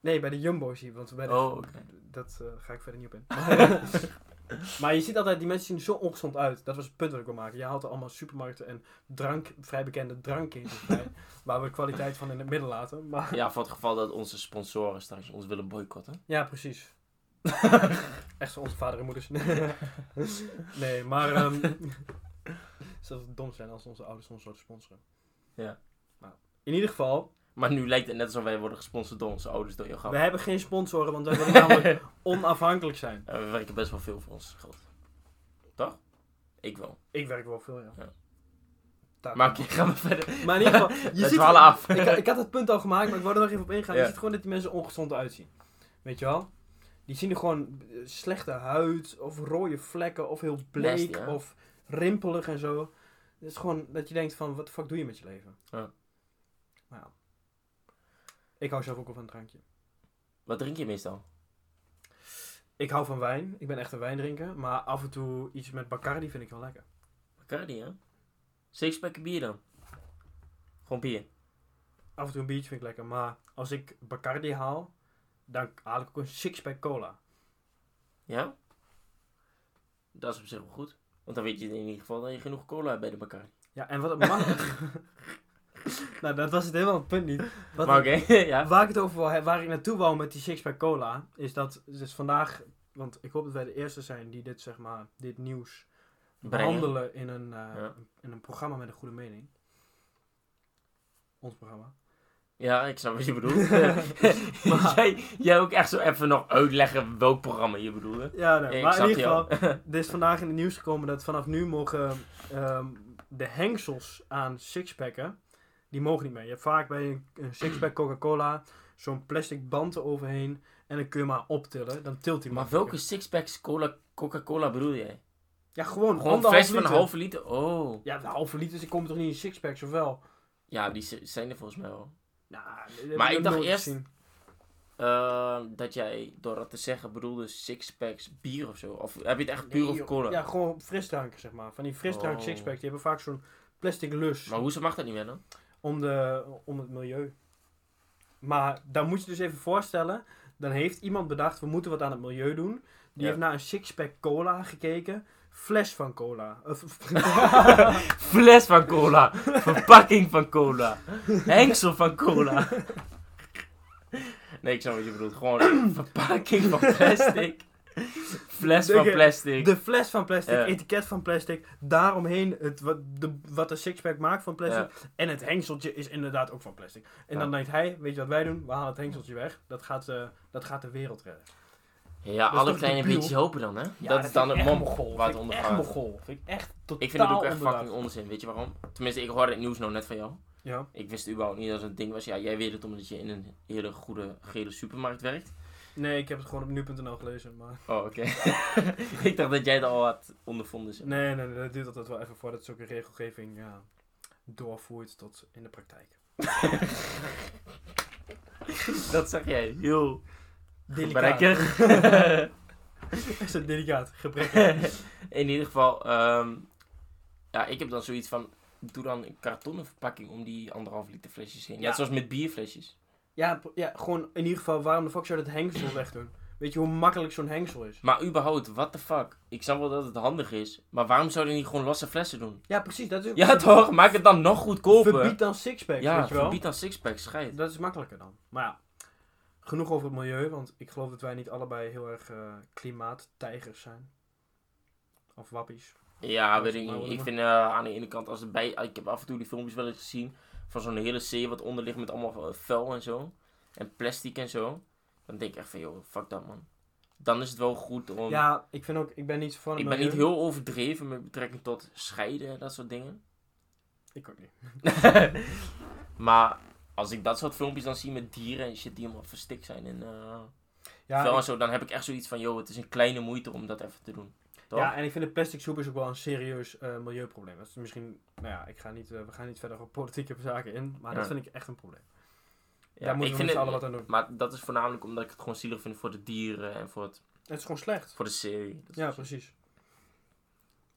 Speaker 1: Nee, bij de Jumbo's hier, want bij de-
Speaker 2: Oh, oké.
Speaker 1: dat eh, ga ik verder niet op in. Maar, maar je ziet altijd, die mensen zien er zo ongezond uit. Dat was het punt dat ik wil maken. Je haalt er allemaal supermarkten en drank, vrij bekende drankketens bij, waar we de kwaliteit van in het midden laten. Maar
Speaker 2: Ja, voor het geval dat onze sponsoren straks ons willen boycotten.
Speaker 1: ja, precies. Echt zo onze vader en moeders. nee, maar ehm zou het dom zijn als onze ouders ons zouden sponsoren.
Speaker 2: Ja.
Speaker 1: Maar in ieder geval,
Speaker 2: Maar nu lijkt het net alsof wij worden gesponsord door onze ouders, door jouw grap.
Speaker 1: We hebben geen sponsoren, want wij willen namelijk onafhankelijk zijn.
Speaker 2: En we werken best wel veel voor ons geld. Toch? Ik wel.
Speaker 1: Ik werk wel veel, ja.
Speaker 2: Ja.
Speaker 1: Daar-
Speaker 2: Maar oké, gaan we verder.
Speaker 1: Maar in ieder geval, je
Speaker 2: We
Speaker 1: ziet...
Speaker 2: dwalen af.
Speaker 1: Ik, ik had het punt al gemaakt, maar ik wou er nog even op ingaan. Je
Speaker 2: Ja.
Speaker 1: ziet gewoon dat die mensen ongezond uitzien. Weet je wel? Die zien er gewoon eh, slechte huid, of rode vlekken, of heel bleek,
Speaker 2: Nasty, hè?
Speaker 1: of rimpelig en zo. Het is gewoon dat je denkt van, wat de fuck doe je met je leven?
Speaker 2: Ja.
Speaker 1: Maar ja. Ik hou zelf ook wel van een drankje.
Speaker 2: Wat drink je meestal?
Speaker 1: Ik hou van wijn. Ik ben echt een wijndrinker. Maar af en toe iets met Bacardi vind ik wel lekker.
Speaker 2: Bacardi, hè? Six packen bier dan? Gewoon bier.
Speaker 1: af en toe een biertje vind ik lekker. Maar als ik Bacardi haal, dan haal ik ook een sixpack cola.
Speaker 2: Ja? Dat is op zich wel goed. Want dan weet je in ieder geval dat je genoeg cola hebt bij de Bacardi.
Speaker 1: Ja, en wat het mag... nou, dat was het helemaal het punt niet. Wat
Speaker 2: maar oké, ja.
Speaker 1: Waar ik het over wou, waar ik naartoe wou met die sixpack cola, is dat dus vandaag... Want ik hoop dat wij de eerste zijn die dit, zeg maar, dit nieuws
Speaker 2: Brengen.
Speaker 1: behandelen in een, eh,
Speaker 2: Ja.
Speaker 1: in een programma met een goede mening. Ons programma.
Speaker 2: Ja, ik snap wat je bedoelt. jij, jij ook echt zo even nog uitleggen welk programma je bedoelde.
Speaker 1: Ja, nee,
Speaker 2: Ik
Speaker 1: maar in
Speaker 2: snap
Speaker 1: ieder
Speaker 2: je
Speaker 1: geval,
Speaker 2: al.
Speaker 1: er is vandaag in het nieuws gekomen dat vanaf nu mogen ehm, de hengsels aan sixpacken, die mogen niet meer. Je hebt vaak bij een, een sixpack Coca-Cola zo'n plastic band eroverheen en dan kun je maar optillen, dan tilt hij
Speaker 2: Maar welke sixpacks cola, Coca-Cola bedoel jij?
Speaker 1: Ja, gewoon,
Speaker 2: Gewoon een
Speaker 1: anderhalf
Speaker 2: fles van een
Speaker 1: liter.
Speaker 2: halve liter? Oh.
Speaker 1: Ja, een halve liter, ze komen toch niet in sixpacks, of wel?
Speaker 2: Ja, die z- zijn er volgens mij wel.
Speaker 1: Nou, dat heb
Speaker 2: Maar ik
Speaker 1: nog
Speaker 2: dacht
Speaker 1: nooit
Speaker 2: eerst-
Speaker 1: gezien.
Speaker 2: Ehm, dat jij, door dat te zeggen, bedoelde sixpacks bier of zo? Of heb je het echt puur
Speaker 1: Nee,
Speaker 2: over
Speaker 1: joh.
Speaker 2: cola?
Speaker 1: Ja, gewoon frisdranken, zeg maar. Van die frisdrank
Speaker 2: Oh.
Speaker 1: sixpack, die hebben vaak zo'n plastic lus.
Speaker 2: Maar hoezo mag dat niet meer dan?
Speaker 1: om, de, om het milieu. Maar dan moet je dus even voorstellen, dan heeft iemand bedacht, we moeten wat aan het milieu doen. Die
Speaker 2: Ja.
Speaker 1: heeft naar een sixpack cola gekeken, fles van cola. Of-
Speaker 2: Fles van cola. Verpakking van cola. Hengsel van cola. Nee, ik snap wat je bedoelt. Gewoon verpakking van plastic. Fles van
Speaker 1: Dikke-
Speaker 2: plastic.
Speaker 1: de fles van plastic,
Speaker 2: Ja.
Speaker 1: etiket van plastic, daaromheen het, wat, de, wat de sixpack maakt van plastic. En het hengseltje is inderdaad ook van plastic. En
Speaker 2: Ja.
Speaker 1: dan denkt hij, weet je wat wij doen? We halen het hengseltje weg. Dat gaat, eh, dat gaat de wereld redden.
Speaker 2: Ja,
Speaker 1: is
Speaker 2: alle
Speaker 1: toch
Speaker 2: kleine
Speaker 1: debiel?
Speaker 2: beetjes helpen dan, hè?
Speaker 1: Ja,
Speaker 2: dat is dan
Speaker 1: vind
Speaker 2: het
Speaker 1: ik echt
Speaker 2: mom
Speaker 1: mogol.
Speaker 2: waar het
Speaker 1: Vind
Speaker 2: onder
Speaker 1: ik echt
Speaker 2: gaat.
Speaker 1: mogol. Vind ik echt totaal
Speaker 2: Ik vind het ook echt
Speaker 1: onderdaad.
Speaker 2: fucking onzin, weet je waarom? Tenminste, ik hoorde het nieuws nou net van jou.
Speaker 1: Ja,
Speaker 2: Ik wist überhaupt niet dat het een ding was. Ja, jij weet het omdat je in een hele goede gele supermarkt werkt.
Speaker 1: nee, ik heb het gewoon op nu.nl gelezen, maar...
Speaker 2: Oh, oké. ik dacht dat jij het al had ondervonden. zeg.
Speaker 1: Nee, nee, nee, dat duurt altijd wel even voordat zulke regelgeving ja, doorvoert tot in de praktijk.
Speaker 2: Dat zeg jij heel
Speaker 1: Delicaat.
Speaker 2: gebrekkig.
Speaker 1: Is het delicaat? Gebrekkig.
Speaker 2: in ieder geval, ehm, ja, ik heb dan zoiets van, doe dan een kartonnen verpakking om die anderhalf liter flesjes heen.
Speaker 1: Ja.
Speaker 2: Net zoals met bierflesjes.
Speaker 1: Ja, pro- ja, gewoon in ieder geval, waarom de fuck zou je dat hengsel wegdoen? Weet je hoe makkelijk zo'n hengsel is?
Speaker 2: Maar überhaupt, what the fuck? Ik snap wel dat het handig is, maar waarom zouden die niet gewoon losse flessen doen?
Speaker 1: Ja, precies. Dat is
Speaker 2: Ja toch, maak het dan nog goedkoper.
Speaker 1: Verbied dan sixpacks,
Speaker 2: Ja,
Speaker 1: weet je wel?
Speaker 2: verbied dan sixpack, scheid.
Speaker 1: Dat is makkelijker dan. Maar ja, genoeg over het milieu, want ik geloof dat wij niet allebei heel erg eh, klimaattijgers zijn. Of wappies.
Speaker 2: Ja,
Speaker 1: Dat
Speaker 2: weet
Speaker 1: is
Speaker 2: ik
Speaker 1: maar
Speaker 2: niet.
Speaker 1: wat
Speaker 2: Ik
Speaker 1: ik-
Speaker 2: vind eh, aan de ene kant, als het bij... Ik heb af en toe die filmpjes wel eens gezien van zo'n hele zee wat onder ligt met allemaal eh, vuil en zo. En plastic en zo. Dan denk ik echt van, joh, fuck dat, man. Dan is het wel goed om...
Speaker 1: Ja, ik vind ook, ik ben niet zo van het
Speaker 2: ik ben
Speaker 1: milieu.
Speaker 2: niet heel overdreven met betrekking tot scheiden en dat soort dingen.
Speaker 1: Ik ook niet.
Speaker 2: maar als ik dat soort filmpjes dan zie met dieren en shit die helemaal verstikt zijn en eh,
Speaker 1: Ja,
Speaker 2: vuil en zo, dan heb ik echt zoiets van, joh, het is een kleine moeite om dat even te doen. Toch?
Speaker 1: Ja, en ik vind de plastic soep is ook wel een serieus eh, milieuprobleem. Dat is misschien, nou ja, ik ga niet, eh, we gaan niet verder op politieke zaken in, maar dat
Speaker 2: Ja.
Speaker 1: vind ik echt een probleem.
Speaker 2: Ja,
Speaker 1: Daar moeten
Speaker 2: ik
Speaker 1: we
Speaker 2: vind
Speaker 1: met z'n
Speaker 2: het-
Speaker 1: allen wat aan doen.
Speaker 2: Maar dat is voornamelijk omdat ik het gewoon zielig vind voor de dieren en voor, het,
Speaker 1: Het is gewoon slecht.
Speaker 2: voor de serie. Dat
Speaker 1: Ja,
Speaker 2: is-
Speaker 1: precies.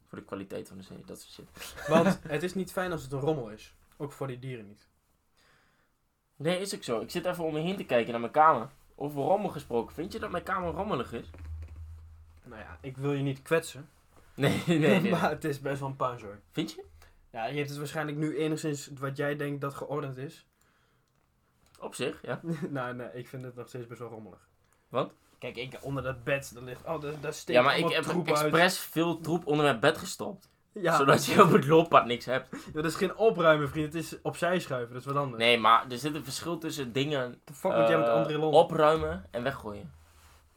Speaker 2: Voor de kwaliteit van de serie, dat soort shit.
Speaker 1: Want het is niet fijn als het een rommel is. Ook voor die dieren niet.
Speaker 2: Nee, is ook zo. Ik zit even om me heen te kijken naar mijn kamer. Over rommel gesproken. Vind je dat mijn kamer rommelig is?
Speaker 1: Nou ja, ik wil je niet kwetsen.
Speaker 2: Nee, nee, nee. nee.
Speaker 1: maar het is best wel een puinzooi.
Speaker 2: Vind je?
Speaker 1: Ja, je hebt het waarschijnlijk nu enigszins wat jij denkt dat geordend is.
Speaker 2: Op zich, ja.
Speaker 1: nou, nee, ik vind het nog steeds best wel rommelig.
Speaker 2: Want?
Speaker 1: Kijk, ik, onder dat bed, daar ligt... Oh, daar, daar steekt
Speaker 2: Ja, maar ik
Speaker 1: allemaal
Speaker 2: heb
Speaker 1: troep uit.
Speaker 2: expres veel troep onder mijn bed gestopt.
Speaker 1: Ja,
Speaker 2: Zodat je op het looppad niks hebt.
Speaker 1: dat is geen opruimen, vriend. Het is opzij schuiven, dat is wat anders.
Speaker 2: Nee, maar er zit een verschil tussen dingen
Speaker 1: The fuck moet jij met
Speaker 2: eh,
Speaker 1: André Lon?
Speaker 2: opruimen en weggooien.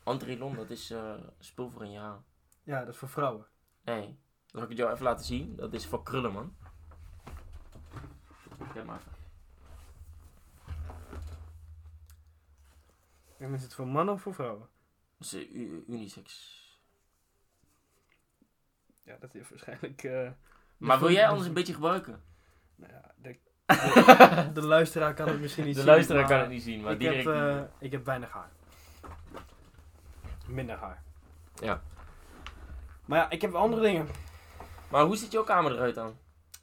Speaker 2: Andrilon, dat is eh spul voor een jaar.
Speaker 1: Ja, dat is voor vrouwen.
Speaker 2: Nee, dat zal ik het jou even laten zien. Dat is voor krullen, man. Kijk maar even.
Speaker 1: En is het voor mannen of voor vrouwen?
Speaker 2: Dat is eh, u- unisex.
Speaker 1: Ja, dat is waarschijnlijk... eh,
Speaker 2: Maar wil jij anders een beetje gebruiken?
Speaker 1: Nou ja, de, de luisteraar kan het misschien niet
Speaker 2: De
Speaker 1: zien.
Speaker 2: luisteraar
Speaker 1: maar
Speaker 2: kan het niet zien, maar
Speaker 1: ik, heb,
Speaker 2: direct...
Speaker 1: eh, ik heb weinig haar. Minder haar.
Speaker 2: Ja.
Speaker 1: Maar ja, ik heb andere dingen.
Speaker 2: Maar hoe ziet jouw kamer eruit dan?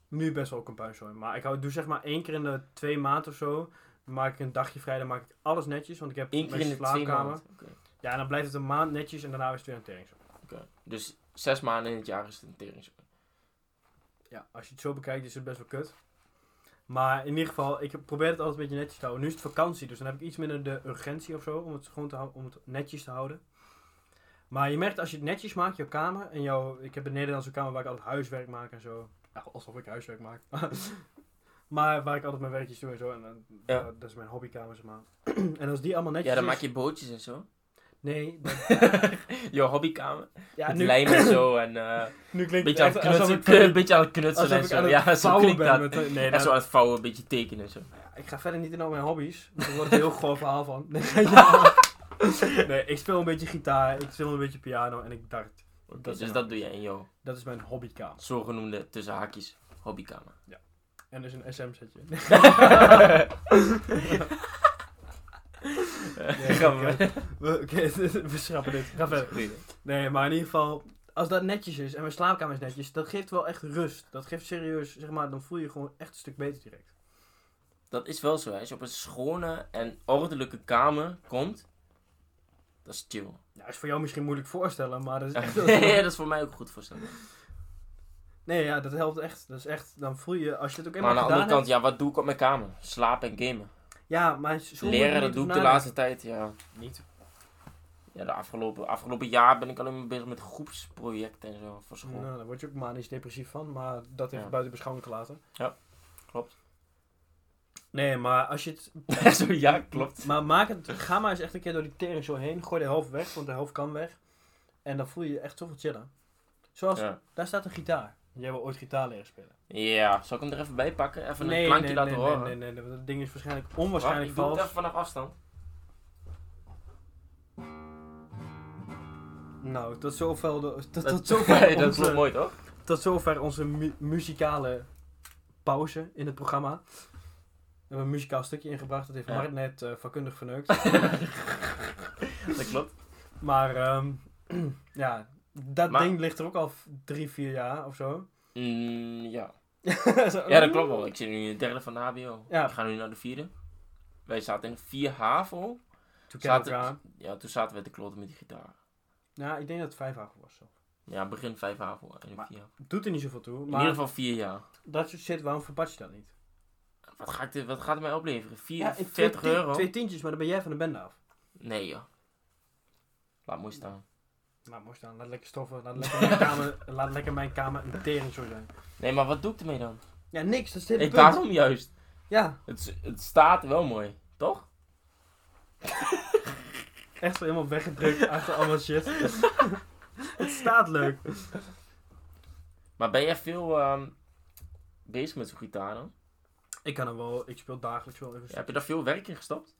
Speaker 1: Nu best wel ook een puinzooi. Maar ik hou, doe zeg maar één keer in de twee maanden of zo. Dan maak ik een dagje vrij, dan maak ik alles netjes. Want ik heb
Speaker 2: Eén keer
Speaker 1: mijn
Speaker 2: in de twee maanden. Oké.
Speaker 1: Ja, en dan blijft het een maand netjes en daarna is het weer een teringzooi.
Speaker 2: oké. Dus zes maanden in het jaar is het een tering.
Speaker 1: Ja, als je het zo bekijkt is het best wel kut. Maar in ieder geval, ik probeer het altijd een beetje netjes te houden. Nu is het vakantie, dus dan heb ik iets minder de urgentie of zo om het gewoon te houden, om het netjes te houden. Maar je merkt als je het netjes maakt, jouw kamer en jouw. Ik heb een Nederlandse kamer waar ik altijd huiswerk maak en zo. Ja, alsof ik huiswerk maak. maar waar ik altijd mijn werkjes doe en zo. En dan,
Speaker 2: Ja.
Speaker 1: dat is mijn hobbykamer, zeg maar. en als die allemaal netjes.
Speaker 2: Ja, dan
Speaker 1: is-
Speaker 2: maak je bootjes en zo.
Speaker 1: Nee, dat-
Speaker 2: Jouw hobbykamer.
Speaker 1: ja,
Speaker 2: met
Speaker 1: nu,
Speaker 2: lijm en zo en... eh,
Speaker 1: nu klinkt
Speaker 2: beetje aan
Speaker 1: het
Speaker 2: het
Speaker 1: echt alsof
Speaker 2: knutselen,
Speaker 1: ik, van die-
Speaker 2: beetje aan het knutselen
Speaker 1: alsof
Speaker 2: en
Speaker 1: ik
Speaker 2: zo.
Speaker 1: aan het
Speaker 2: ja, zo
Speaker 1: vouwen
Speaker 2: klinkt
Speaker 1: ben
Speaker 2: dat.
Speaker 1: met- nee,
Speaker 2: en
Speaker 1: dat-
Speaker 2: zo aan het vouwen, een beetje tekenen en zo.
Speaker 1: Ja, ik ga verder niet in al mijn hobby's. want Daar wordt een heel grof verhaal van. Nee, ja. nee, ik speel een beetje gitaar, ik speel een beetje piano en ik dart.
Speaker 2: Oké,
Speaker 1: Dat is
Speaker 2: dus
Speaker 1: een
Speaker 2: dat doe je in jouw
Speaker 1: Dat is mijn hobbykamer.
Speaker 2: zogenoemde tussen haakjes hobbykamer.
Speaker 1: En dus een SM-setje.
Speaker 2: Gaan we.
Speaker 1: we, oké, we schrappen dit. Ga verder.
Speaker 2: Goeie.
Speaker 1: Nee, maar in ieder geval, als dat netjes is en mijn slaapkamer is netjes, dat geeft wel echt rust. Dat geeft serieus, zeg maar, dan voel je gewoon echt een stuk beter direct.
Speaker 2: Dat is wel zo, hè. als je op een schone en ordelijke kamer komt, dat is chill.
Speaker 1: Ja, is voor jou misschien moeilijk voorstellen, maar dat is echt wel
Speaker 2: ja, dat is voor mij ook goed voorstellen.
Speaker 1: Nee, ja, dat helpt echt. Dat is echt, dan voel je, als je het ook
Speaker 2: Maar
Speaker 1: eenmaal
Speaker 2: aan de
Speaker 1: gedaan
Speaker 2: andere
Speaker 1: hebt...
Speaker 2: kant, ja, wat doe ik op mijn kamer? Slapen en gamen.
Speaker 1: Ja, maar zo moet je
Speaker 2: Leren,
Speaker 1: niet
Speaker 2: dat doe ik de
Speaker 1: nadenken.
Speaker 2: laatste tijd, ja.
Speaker 1: Niet.
Speaker 2: Ja, de afgelopen, afgelopen jaar ben ik alleen maar bezig met groepsprojecten en zo voor school.
Speaker 1: Nou, daar word je ook manisch depressief van, maar dat even
Speaker 2: Ja.
Speaker 1: buiten beschouwing te laten.
Speaker 2: Ja, klopt.
Speaker 1: Nee, maar als je het...
Speaker 2: zo, ja, klopt.
Speaker 1: Maar maak het... Ga maar eens echt een keer door die tering zo heen. Gooi de helft weg, want de helft kan weg. En dan voel je je echt zoveel chillen. Zoals...
Speaker 2: Ja.
Speaker 1: Daar staat een gitaar. Jij wil ooit gitaar leren spelen.
Speaker 2: ja, zal ik hem er even bij pakken? Even een klankje
Speaker 1: nee,
Speaker 2: laten
Speaker 1: nee,
Speaker 2: horen.
Speaker 1: Nee, nee, nee, want dat ding is waarschijnlijk
Speaker 2: Wacht,
Speaker 1: onwaarschijnlijk
Speaker 2: ik doe het
Speaker 1: vals.
Speaker 2: even vanaf afstand.
Speaker 1: Nou, tot zover, de, tot,
Speaker 2: Dat-
Speaker 1: tot zover
Speaker 2: dat is
Speaker 1: onze,
Speaker 2: wel mooi, toch?
Speaker 1: tot zover onze mu- muzikale pauze in het programma. We hebben een muzikaal stukje ingebracht. Dat heeft
Speaker 2: Ja.
Speaker 1: Mart net eh, vakkundig verneukt.
Speaker 2: Dat klopt.
Speaker 1: Maar ehm, ja, dat
Speaker 2: Maar-
Speaker 1: ding ligt er ook al v- drie, vier jaar of zo.
Speaker 2: Mm, ja.
Speaker 1: Zo,
Speaker 2: ja, dat klopt wel. Ik zit nu in de derde van de HBO.
Speaker 1: Ja.
Speaker 2: Ik ga nu naar de vierde. Wij zaten in vier HAVO.
Speaker 1: Toen kennen we
Speaker 2: Zaten-
Speaker 1: elkaar.
Speaker 2: Ja, toen zaten we te kloten met die gitaar.
Speaker 1: Ja, ik denk dat het vijf jaar was. Zo.
Speaker 2: Ja, begin vijf HAVO en nu
Speaker 1: Maar-
Speaker 2: vier. HAVO.
Speaker 1: Doet er niet zoveel toe.
Speaker 2: In
Speaker 1: Maar
Speaker 2: ieder geval vier jaar.
Speaker 1: dat soort shit, waarom verpatst je dat niet?
Speaker 2: Wat, ga ik dit- wat gaat het mij opleveren? Vier,
Speaker 1: Ja, ik-
Speaker 2: 40
Speaker 1: twee,
Speaker 2: euro?
Speaker 1: Twee tientjes, maar dan ben jij van de bende af.
Speaker 2: Nee, joh. Laat mooi staan.
Speaker 1: Nou, mooi staan. Laat lekker stoffen. Laat lekker mijn kamer, laat lekker mijn kamer een tering zo zijn.
Speaker 2: Nee, maar wat doe ik ermee dan?
Speaker 1: Ja, niks. Dat is het hele
Speaker 2: Ik
Speaker 1: punt.
Speaker 2: daarom juist.
Speaker 1: Ja,
Speaker 2: Het, s- het staat wel mooi, toch?
Speaker 1: echt zo helemaal weggedrukt achter allemaal shit. het staat leuk.
Speaker 2: Maar ben jij veel ehm, bezig met zo'n gitaar dan?
Speaker 1: Ik kan hem wel. Ik speel dagelijks wel even.
Speaker 2: Ja, heb je daar veel werk in gestopt?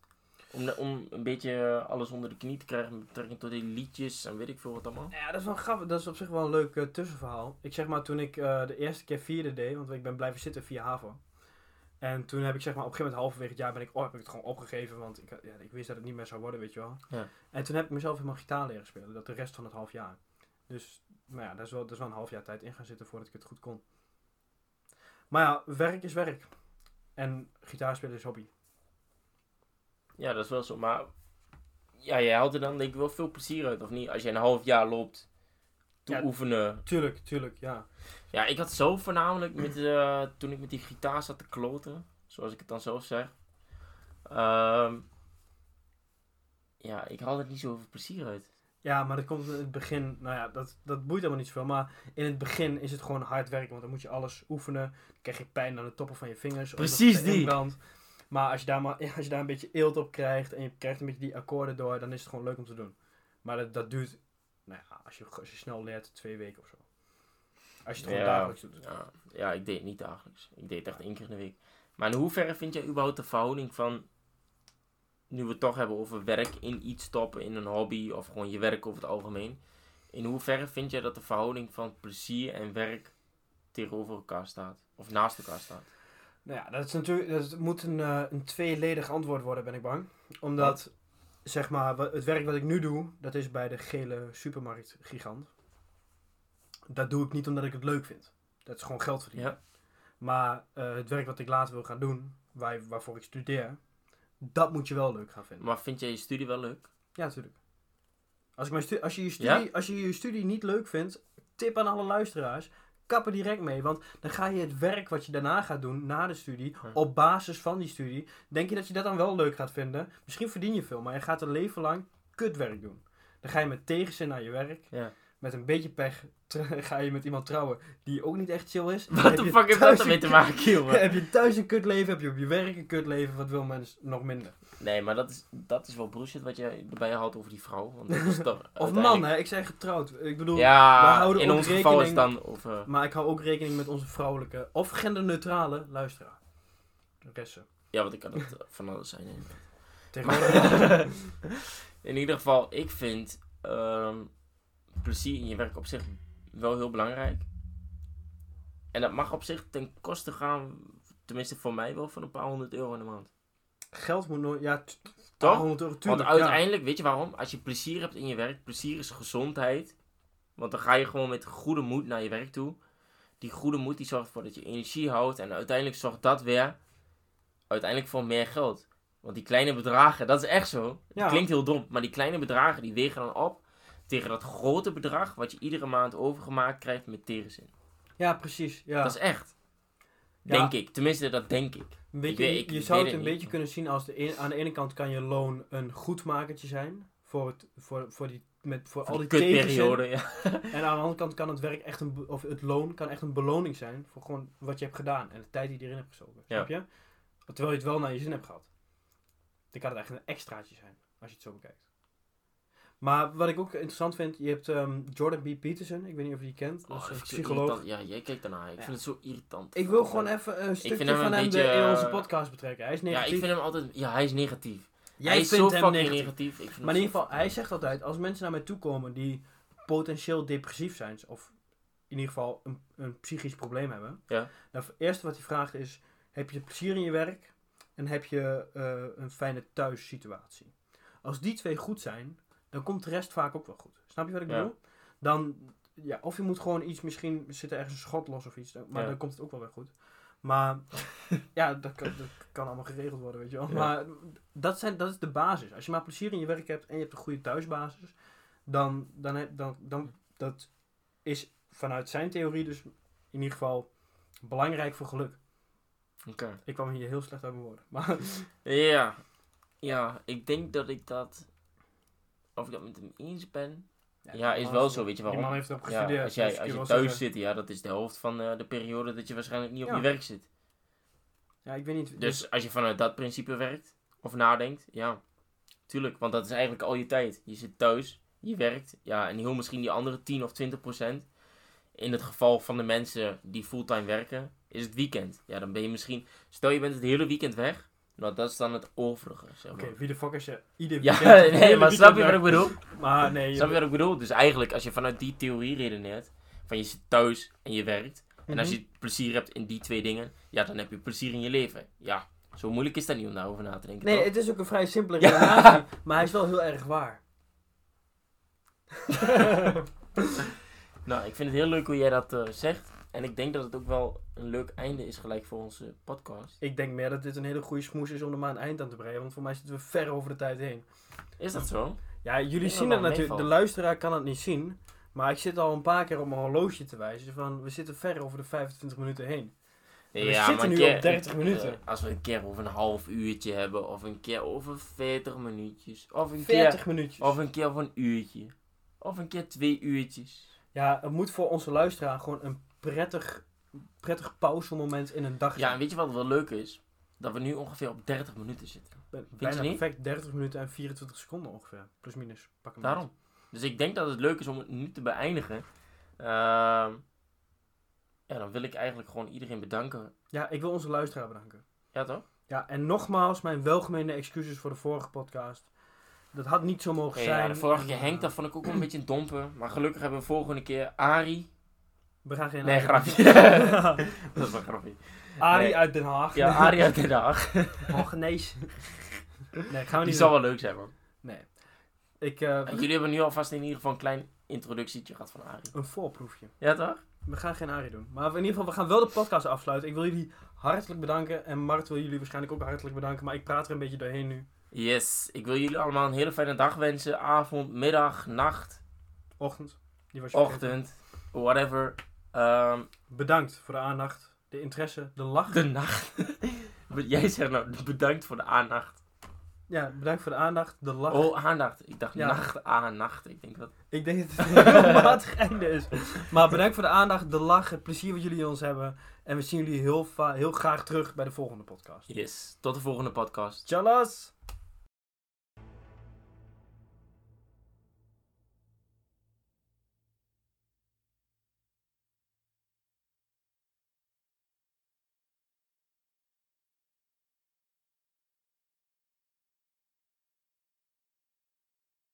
Speaker 2: Om, de- om een beetje eh, alles onder de knie te krijgen met betrekking tot die liedjes en weet ik veel wat allemaal.
Speaker 1: Ja, dat is wel grappig. Dat is op zich wel een leuk eh, tussenverhaal. Ik zeg maar, toen ik eh, de eerste keer vierde deed, want ik ben blijven zitten via HAVO. En toen heb ik zeg maar, op een gegeven moment halverwege het jaar ben ik, oh, heb ik het gewoon opgegeven, want ik, had- ja, ik wist dat het niet meer zou worden, weet je wel.
Speaker 2: Ja.
Speaker 1: En toen heb ik mezelf helemaal gitaar leren spelen, dat de rest van het half jaar. Dus, maar ja, daar is wel, daar is wel een half jaar tijd in gaan zitten voordat ik het goed kon. Maar ja, werk is werk. En gitaar spelen is hobby.
Speaker 2: Ja, dat is wel zo. Maar ja, jij haalt er dan denk ik wel veel plezier uit, of niet? Als je een half jaar loopt, toe
Speaker 1: Ja.
Speaker 2: oefenen.
Speaker 1: Tuurlijk, tuurlijk, ja.
Speaker 2: Ja, ik had zo voornamelijk met, eh, toen ik met die gitaar zat te kloten, zoals ik het dan zelf zeg. Ehm, ja, ik haal er niet zoveel plezier uit.
Speaker 1: Ja, maar dat komt in het begin, nou ja, dat, dat boeit helemaal niet zoveel. Maar in het begin is het gewoon hard werken, want dan moet je alles oefenen. Dan krijg je pijn aan de toppen van je vingers. omdat het
Speaker 2: Precies die.
Speaker 1: inbrandt. Maar als je, daar maar als je daar een beetje eelt op krijgt en je krijgt een beetje die akkoorden door, dan is het gewoon leuk om te doen. Maar dat, dat duurt, nou ja, als je, als je snel leert, twee weken of zo. Als je het gewoon
Speaker 2: Ja.
Speaker 1: dagelijks doet.
Speaker 2: Ja, ja, ik deed het niet dagelijks. Ik deed het echt één keer in de week. Maar in hoeverre vind jij überhaupt de verhouding van... Nu we het toch hebben over werk in iets stoppen, in een hobby of gewoon je werk over het algemeen. In hoeverre vind jij dat de verhouding van plezier en werk tegenover elkaar staat? Of naast elkaar staat?
Speaker 1: Nou ja, dat is natuurlijk, dat moet een, eh, een tweeledig antwoord worden, ben ik bang. Omdat, zeg maar, wa- het werk wat ik nu doe, dat is bij de gele supermarkt gigant. Dat doe ik niet omdat ik het leuk vind. Dat is gewoon geld verdienen.
Speaker 2: Ja.
Speaker 1: Maar eh, het werk wat ik later wil gaan doen, waar, waarvoor ik studeer, dat moet je wel leuk gaan vinden.
Speaker 2: Maar vind jij je studie wel leuk?
Speaker 1: Ja, natuurlijk. Als, ik mijn stu- als, je je studie, als je je studie niet leuk vindt, tip aan alle luisteraars. Kap er direct mee, want dan ga je het werk wat je daarna gaat doen, na de studie,
Speaker 2: Ja.
Speaker 1: op basis van die studie, denk je dat je dat dan wel leuk gaat vinden. Misschien verdien je veel, maar je gaat een leven lang kutwerk doen. Dan ga je met tegenzin naar je werk.
Speaker 2: Ja.
Speaker 1: Met een beetje pech tr- ga je met iemand trouwen die ook niet echt chill is.
Speaker 2: Wat
Speaker 1: Heb
Speaker 2: de
Speaker 1: je
Speaker 2: fuck heeft
Speaker 1: thuis
Speaker 2: dat
Speaker 1: een
Speaker 2: ermee te
Speaker 1: kut-
Speaker 2: maken, jongen?
Speaker 1: Heb je thuis een kutleven, heb je op je werk een kutleven, wat wil men nog minder?
Speaker 2: Nee, maar dat is, dat is wel bullshit wat jij erbij haalt over die vrouw. Want dat is toch
Speaker 1: Of
Speaker 2: uiteindelijk-
Speaker 1: man, hè? Ik zeg getrouwd. Ik bedoel, we
Speaker 2: Ja,
Speaker 1: houden
Speaker 2: in
Speaker 1: ook
Speaker 2: ons geval is het
Speaker 1: rekening-
Speaker 2: dan over...
Speaker 1: Maar ik hou ook rekening met onze vrouwelijke of genderneutrale luisteraar. De resten.
Speaker 2: Ja, want ik kan het eh, van alles zijn. hè.
Speaker 1: Tegenwoordig.
Speaker 2: in ieder geval, ik vind ehm, plezier in je werk op zich wel heel belangrijk. En dat mag op zich ten koste gaan, tenminste voor mij wel, van een paar honderd euro in de maand.
Speaker 1: Geld moet nooit. Ja, t-
Speaker 2: Toch?
Speaker 1: 100 euro.
Speaker 2: Want
Speaker 1: Tuurlijk, ja.
Speaker 2: uiteindelijk, weet je waarom? Als je plezier hebt in je werk, plezier is gezondheid. Want dan ga je gewoon met goede moed naar je werk toe. Die goede moed die zorgt ervoor dat je energie houdt. En uiteindelijk zorgt dat weer uiteindelijk voor meer geld. Want die kleine bedragen, dat is echt zo. Het
Speaker 1: Ja.
Speaker 2: klinkt heel dom, maar die kleine bedragen die wegen dan op tegen dat grote bedrag wat je iedere maand overgemaakt krijgt met tegenzin.
Speaker 1: Ja, precies. Ja.
Speaker 2: Dat is echt.
Speaker 1: Ja.
Speaker 2: Denk ik. Tenminste, dat denk ik.
Speaker 1: Een
Speaker 2: ik
Speaker 1: beetje,
Speaker 2: weet- ik
Speaker 1: je
Speaker 2: weet
Speaker 1: zou het
Speaker 2: het
Speaker 1: een
Speaker 2: niet.
Speaker 1: beetje kunnen zien als de een- aan de ene kant kan je loon een goedmakertje zijn. Voor, het, voor, voor, die, met, voor al
Speaker 2: Van
Speaker 1: die
Speaker 2: die
Speaker 1: tegenzin.
Speaker 2: kutperiode. Ja.
Speaker 1: En aan de andere kant kan het werk echt een, be- of het loon kan echt een beloning zijn voor gewoon wat je hebt gedaan en de tijd die je erin hebt gestoken.
Speaker 2: Ja.
Speaker 1: Snap je? Terwijl je het wel naar je zin hebt gehad. Dan kan het eigenlijk een extraatje zijn, als je het zo bekijkt. Maar wat ik ook interessant vind, je hebt ehm, Jordan B. Peterson, ik weet niet of je die kent, dat
Speaker 2: Oh,
Speaker 1: is een
Speaker 2: ik vind het zo
Speaker 1: psycholoog.
Speaker 2: irritant. Ja, jij kijkt daarna. Ik
Speaker 1: Ja.
Speaker 2: vind het zo irritant.
Speaker 1: Ik wil gewoon even een stukje
Speaker 2: vind hem
Speaker 1: van
Speaker 2: een
Speaker 1: hem
Speaker 2: beetje,
Speaker 1: de- in onze
Speaker 2: eh,
Speaker 1: podcast betrekken. Hij is
Speaker 2: Ja, ik
Speaker 1: negatief.
Speaker 2: vind hem altijd... Ja, hij is negatief.
Speaker 1: Jij
Speaker 2: hij is
Speaker 1: vindt
Speaker 2: zo
Speaker 1: hem
Speaker 2: fucking
Speaker 1: negatief.
Speaker 2: negatief. Ik vind
Speaker 1: Maar in
Speaker 2: hem
Speaker 1: ieder
Speaker 2: zo
Speaker 1: geval, hij
Speaker 2: fucking
Speaker 1: zegt altijd, als mensen naar mij toe komen die potentieel depressief zijn, of in ieder geval een, een psychisch probleem hebben,
Speaker 2: Ja.
Speaker 1: dan het eerste wat hij vraagt is, heb je plezier in je werk en heb je eh, een fijne thuissituatie? Als die twee goed zijn, dan komt de rest vaak ook wel goed. Snap je wat ik
Speaker 2: Ja.
Speaker 1: bedoel? Dan, ja, of je moet gewoon iets, misschien zit er ergens een schot los of iets, dan- maar
Speaker 2: Ja.
Speaker 1: dan komt het ook wel weer goed. Maar ja, dat kan, dat kan allemaal geregeld worden, weet je wel.
Speaker 2: Ja.
Speaker 1: Maar dat, zijn, dat is de basis. Als je maar plezier in je werk hebt en je hebt een goede thuisbasis, dan, dan, heb- dan, dan dat is vanuit zijn theorie dus in ieder geval belangrijk voor geluk.
Speaker 2: Oké.
Speaker 1: Ik kwam hier heel slecht uit mijn woorden. Maar
Speaker 2: Ja. Ja, ik denk dat ik dat... Of ik dat met hem eens ben. Ja, is wel zo, weet je
Speaker 1: Die man
Speaker 2: waarom?
Speaker 1: heeft erop
Speaker 2: Ja,
Speaker 1: gestudeerd.
Speaker 2: als jij,
Speaker 1: dus
Speaker 2: als
Speaker 1: kun
Speaker 2: je
Speaker 1: wel
Speaker 2: thuis
Speaker 1: zeggen-
Speaker 2: zit, ja, dat is de helft van eh, de periode dat je waarschijnlijk niet op
Speaker 1: Ja.
Speaker 2: je werk zit.
Speaker 1: Ja, ik weet niet.
Speaker 2: Dus als je vanuit dat principe werkt, of nadenkt, ja. Tuurlijk, want dat is eigenlijk al je tijd. Je zit thuis, je werkt, ja, en heel misschien die andere 10 of 20 procent. In het geval van de mensen die fulltime werken, is het weekend. Ja, dan ben je misschien... Stel, je bent het hele weekend weg. Nou, dat is dan het overige, zeg maar.
Speaker 1: Oké, wie de fuck is je? Ieder
Speaker 2: Ja,
Speaker 1: weekend-
Speaker 2: nee,
Speaker 1: ieder
Speaker 2: maar snap je wat ik
Speaker 1: weekend
Speaker 2: bedoel?
Speaker 1: werkt. Maar nee, je-
Speaker 2: Snap je wat ik bedoel? Dus eigenlijk, als je vanuit die theorie redeneert, van je zit thuis en je werkt, en als
Speaker 1: Mhm.
Speaker 2: je plezier hebt in die twee dingen, ja, dan heb je plezier in je leven. Ja, zo moeilijk is dat niet om daarover na te denken.
Speaker 1: Nee,
Speaker 2: toch?
Speaker 1: het is ook een vrij simpele
Speaker 2: Ja.
Speaker 1: redenatie, maar hij is wel heel erg waar.
Speaker 2: Nou, ik vind het heel leuk hoe jij dat eh, zegt. En ik denk dat het ook wel een leuk einde is gelijk voor onze podcast.
Speaker 1: Ik denk meer dat dit een hele goede smoes is om er maar een eind aan te brengen. Want voor mij zitten we ver over de tijd heen.
Speaker 2: Is dat zo?
Speaker 1: Ja, jullie
Speaker 2: denk
Speaker 1: zien het
Speaker 2: dat wel
Speaker 1: natuurlijk.
Speaker 2: meevalt.
Speaker 1: De luisteraar kan het niet zien. Maar ik zit al een paar keer op mijn horloge te wijzen. Van, we zitten ver over de 25 minuten heen. We zitten
Speaker 2: maar
Speaker 1: nu
Speaker 2: een keer-
Speaker 1: op 30
Speaker 2: eh,
Speaker 1: minuten.
Speaker 2: als we een keer over een half uurtje hebben, of een keer over 40 minuutjes, of een,
Speaker 1: 40
Speaker 2: keer,
Speaker 1: minuutjes.
Speaker 2: of een keer over een uurtje, of een keer twee uurtjes.
Speaker 1: Ja, het moet voor onze luisteraar gewoon een prettig, prettig pauzemoment in een dag
Speaker 2: Ja,
Speaker 1: zijn.
Speaker 2: en weet je wat wel leuk is? Dat we nu ongeveer op 30 minuten zitten.
Speaker 1: Bij-
Speaker 2: je
Speaker 1: Bijna
Speaker 2: niet?
Speaker 1: perfect 30 minuten en 24 seconden ongeveer. Plus minus. Pak hem
Speaker 2: Daarom. Dus ik denk dat het leuk is om het nu te beëindigen. Ehm, ja, dan wil ik eigenlijk gewoon iedereen bedanken.
Speaker 1: Ja, ik wil onze luisteraar bedanken.
Speaker 2: Ja, toch?
Speaker 1: Ja, en nogmaals, mijn welgemeende excuses voor de vorige podcast. Dat had niet zo mogen
Speaker 2: Oké,
Speaker 1: zijn.
Speaker 2: ja, de vorige keer
Speaker 1: En,
Speaker 2: Henk,
Speaker 1: eh,
Speaker 2: dat vond ik ook wel een beetje een domper. Maar gelukkig hebben we volgende keer Ari.
Speaker 1: We gaan geen...
Speaker 2: Nee, grapje. dat is wel grappig.
Speaker 1: Arie
Speaker 2: Nee.
Speaker 1: uit Den Haag.
Speaker 2: Ja, Ari uit Den Haag.
Speaker 1: Oh, genees. Nee, gaan we
Speaker 2: Die
Speaker 1: niet
Speaker 2: zal
Speaker 1: doen.
Speaker 2: wel leuk zijn, man.
Speaker 1: Nee. Ik, eh,
Speaker 2: Jullie hebben nu alvast in ieder geval een klein introductietje gehad van Ari.
Speaker 1: een voorproefje.
Speaker 2: Ja, toch?
Speaker 1: We gaan geen Arie doen. Maar in ieder geval, we gaan wel de podcast afsluiten. Ik wil jullie hartelijk bedanken. En Mart wil jullie waarschijnlijk ook hartelijk bedanken. Maar ik praat er een beetje doorheen nu.
Speaker 2: Yes. Ik wil jullie allemaal een hele fijne dag wensen. Avond, middag, nacht,
Speaker 1: Ochtend. Die was je vergeten.
Speaker 2: ochtend, whatever. Ehm,
Speaker 1: Bedankt voor de aandacht, de interesse, de lach.
Speaker 2: de nacht. Jij zegt nou bedankt voor de aandacht.
Speaker 1: Ja, bedankt voor de aandacht, de lach.
Speaker 2: Oh, aandacht. Ik dacht
Speaker 1: Ja.
Speaker 2: nacht, aandacht. Ik denk dat...
Speaker 1: Ik denk dat het een heel matig einde is. Maar bedankt voor de aandacht, de lach, het plezier wat jullie in ons hebben. En we zien jullie heel, va- heel graag terug bij de volgende podcast.
Speaker 2: Yes. Tot de volgende podcast.
Speaker 1: Tjallas!